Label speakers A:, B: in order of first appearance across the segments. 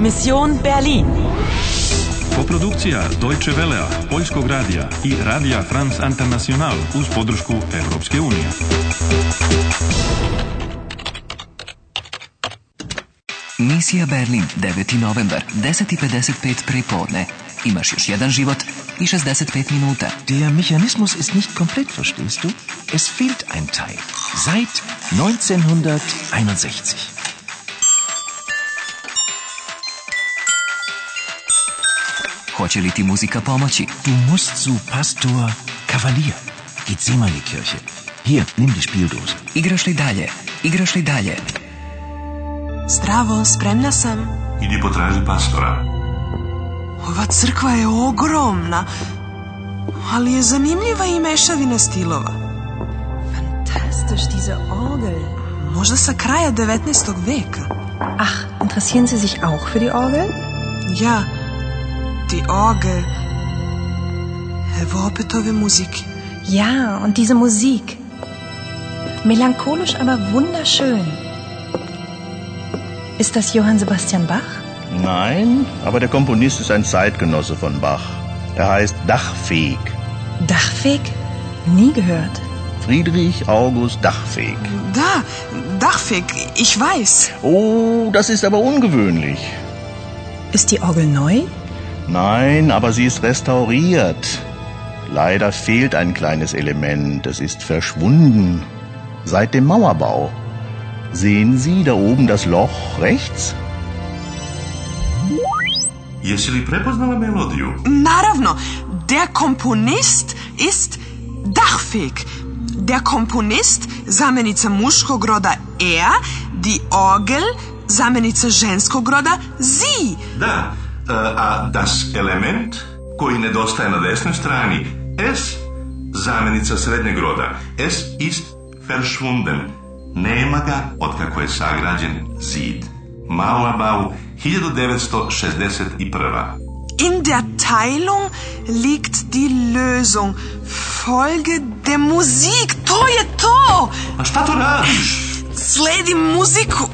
A: Mission Berlin.
B: Koprodukcija Deutsche Velea, Poljskog radija i Radija France International uz podršku Europske unije.
C: Misija Berlin, 9. novembar, 10.55 prepodne. Imaš još jedan život i 65 minuta.
D: Der Mechanismus ist nicht komplett, verstehst du? Es fehlt ein Teil. Seit 1961.
C: Hoće li ti muzika pomoći?
D: Du musst zu Pastor Kavalier. Geh zehnmal in die Kirche. Hier, nimm die Spieldose.
C: Igraš li dalje? Igraš li dalje?
E: Zdravo, spremna sam.
B: Idi potraži pastora.
E: Ova crkva je ogromna, ali je zanimljiva i mešavina stilova.
F: Fantastisch, diese Orgel.
E: Možda sa kraja 19. veka.
F: Ach, interessieren Sie sich auch für die Orgel?
E: Ja, die Orgel. Evo opet ove muzike.
F: Ja, und diese Musik. Melancholisch, aber wunderschön. Ist das Johann Sebastian Bach?
G: Nein, aber der Komponist ist ein Zeitgenosse von Bach. Er heißt Dachfeg.
F: Dachfeg? Nie gehört.
G: Friedrich August Dachfeg.
E: Da, Dachfig, ich weiß.
G: Oh, das ist aber ungewöhnlich.
F: Ist die Orgel neu?
G: Nein, aber sie ist restauriert. Leider fehlt ein kleines Element. Es ist verschwunden. Seit dem Mauerbau. Sehen Sie da oben das Loch rechts?
B: Jesi li prepoznala melodiju?
E: Naravno, der Komponist ist Dachfig. Der Komponist, zamenica muškog roda er, die Orgel, zamenica ženskog roda sie.
B: Da, e, a das element koji nedostaje na desnoj strani S, zamjenica srednjeg roda. S ist verschwunden. Nema ga otkako je sagrađen zid. Malabau 1961.
E: In der Teilung liegt die Lösung. Folge der Musik. To je to!
B: A Pa šta to radiš?
E: Sledi muziku.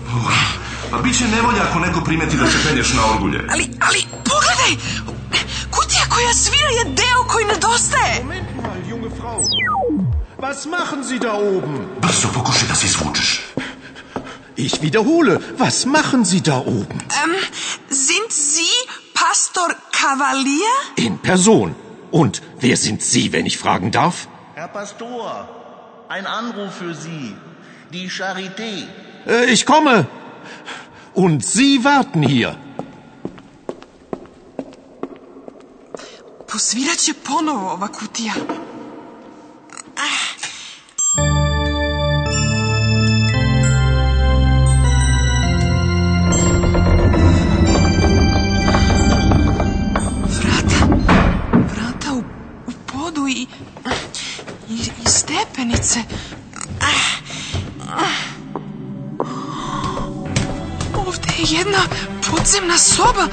B: Pa bit će nevolja ako neko primeti da se penješ na orgulje.
E: Ali, ali, pogledaj! Kutija koja svira je deo koji nedostaje.
H: Moment mal, junge Frau. Was machen Sie da oben?
B: Brzo pokušaj da se izvučeš.
H: Ich wiederhole, was machen Sie da oben?
E: Ähm, sind Sie Pastor Kavalier?
H: In Person. Und wer sind Sie, wenn ich fragen darf?
G: Herr Pastor, ein Anruf für Sie. Die Charité.
H: Äh, ich komme. Und Sie warten hier.
E: Posvirat će ponovo ova kutija. Vrata. Vrata u, u podu i, i, i stepenice. Ah. Ovdje je jedna podzemna soba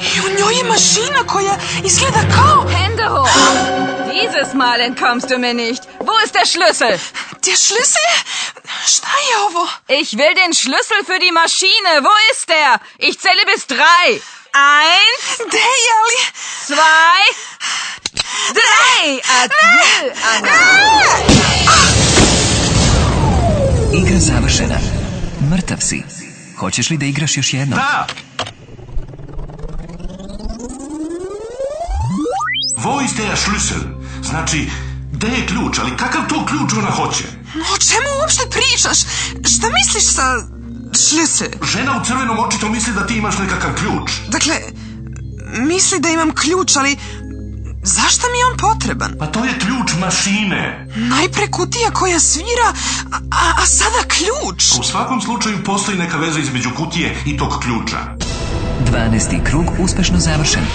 E: i u njoj je mašina koja izgleda kao...
I: Hände hoch! Dieses Mal entkommst du mir nicht. Wo ist der Schlüssel?
E: Gdje šlisel? Šta je ovo?
I: Ich will den Schlüssel für die Maschine. Wo ist der? Ich zähle bis drei. Eins,
E: Gde je, ali...
I: zwei, drei. Adieu, Anna.
C: Igra završena. Mrtav si. Hoćeš li da igraš još jednom?
B: Da! Wo ist der Schlüssel? Znači, gde je ključ, ali kakav to ključ ona hoće?
E: Ma, O čemu uopšte pričaš? Šta misliš sa šlise?
B: Žena u crvenom očito misli da ti imaš nekakav ključ.
E: Dakle, misli da imam ključ, ali zašto mi je on potreban?
B: Pa to je ključ mašine.
E: Najpre kutija koja svira, a, a, a sada ključ.
B: U svakom slučaju postoji neka veza između kutije i tog ključa.
C: 12. krug uspešno završen.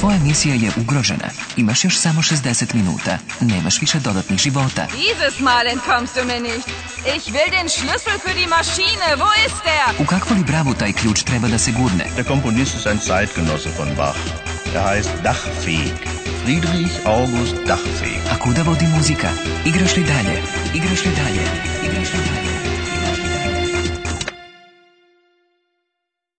C: Tvoja misija je ugrožena. Imaš još samo 60 minuta. Nemaš više dodatnih života.
I: Dieses Mal entkommst du mir nicht. Ich will den Schlüssel für die Maschine. Wo ist der?
C: U kakvu li bravu taj ključ treba da se gurne?
G: Der Komponist ist ein Zeitgenosse von Bach. Er heißt Dachfeg. Friedrich August Dachfeg.
C: A kuda vodi muzika? Igraš li dalje? Igraš li dalje? Igraš li dalje?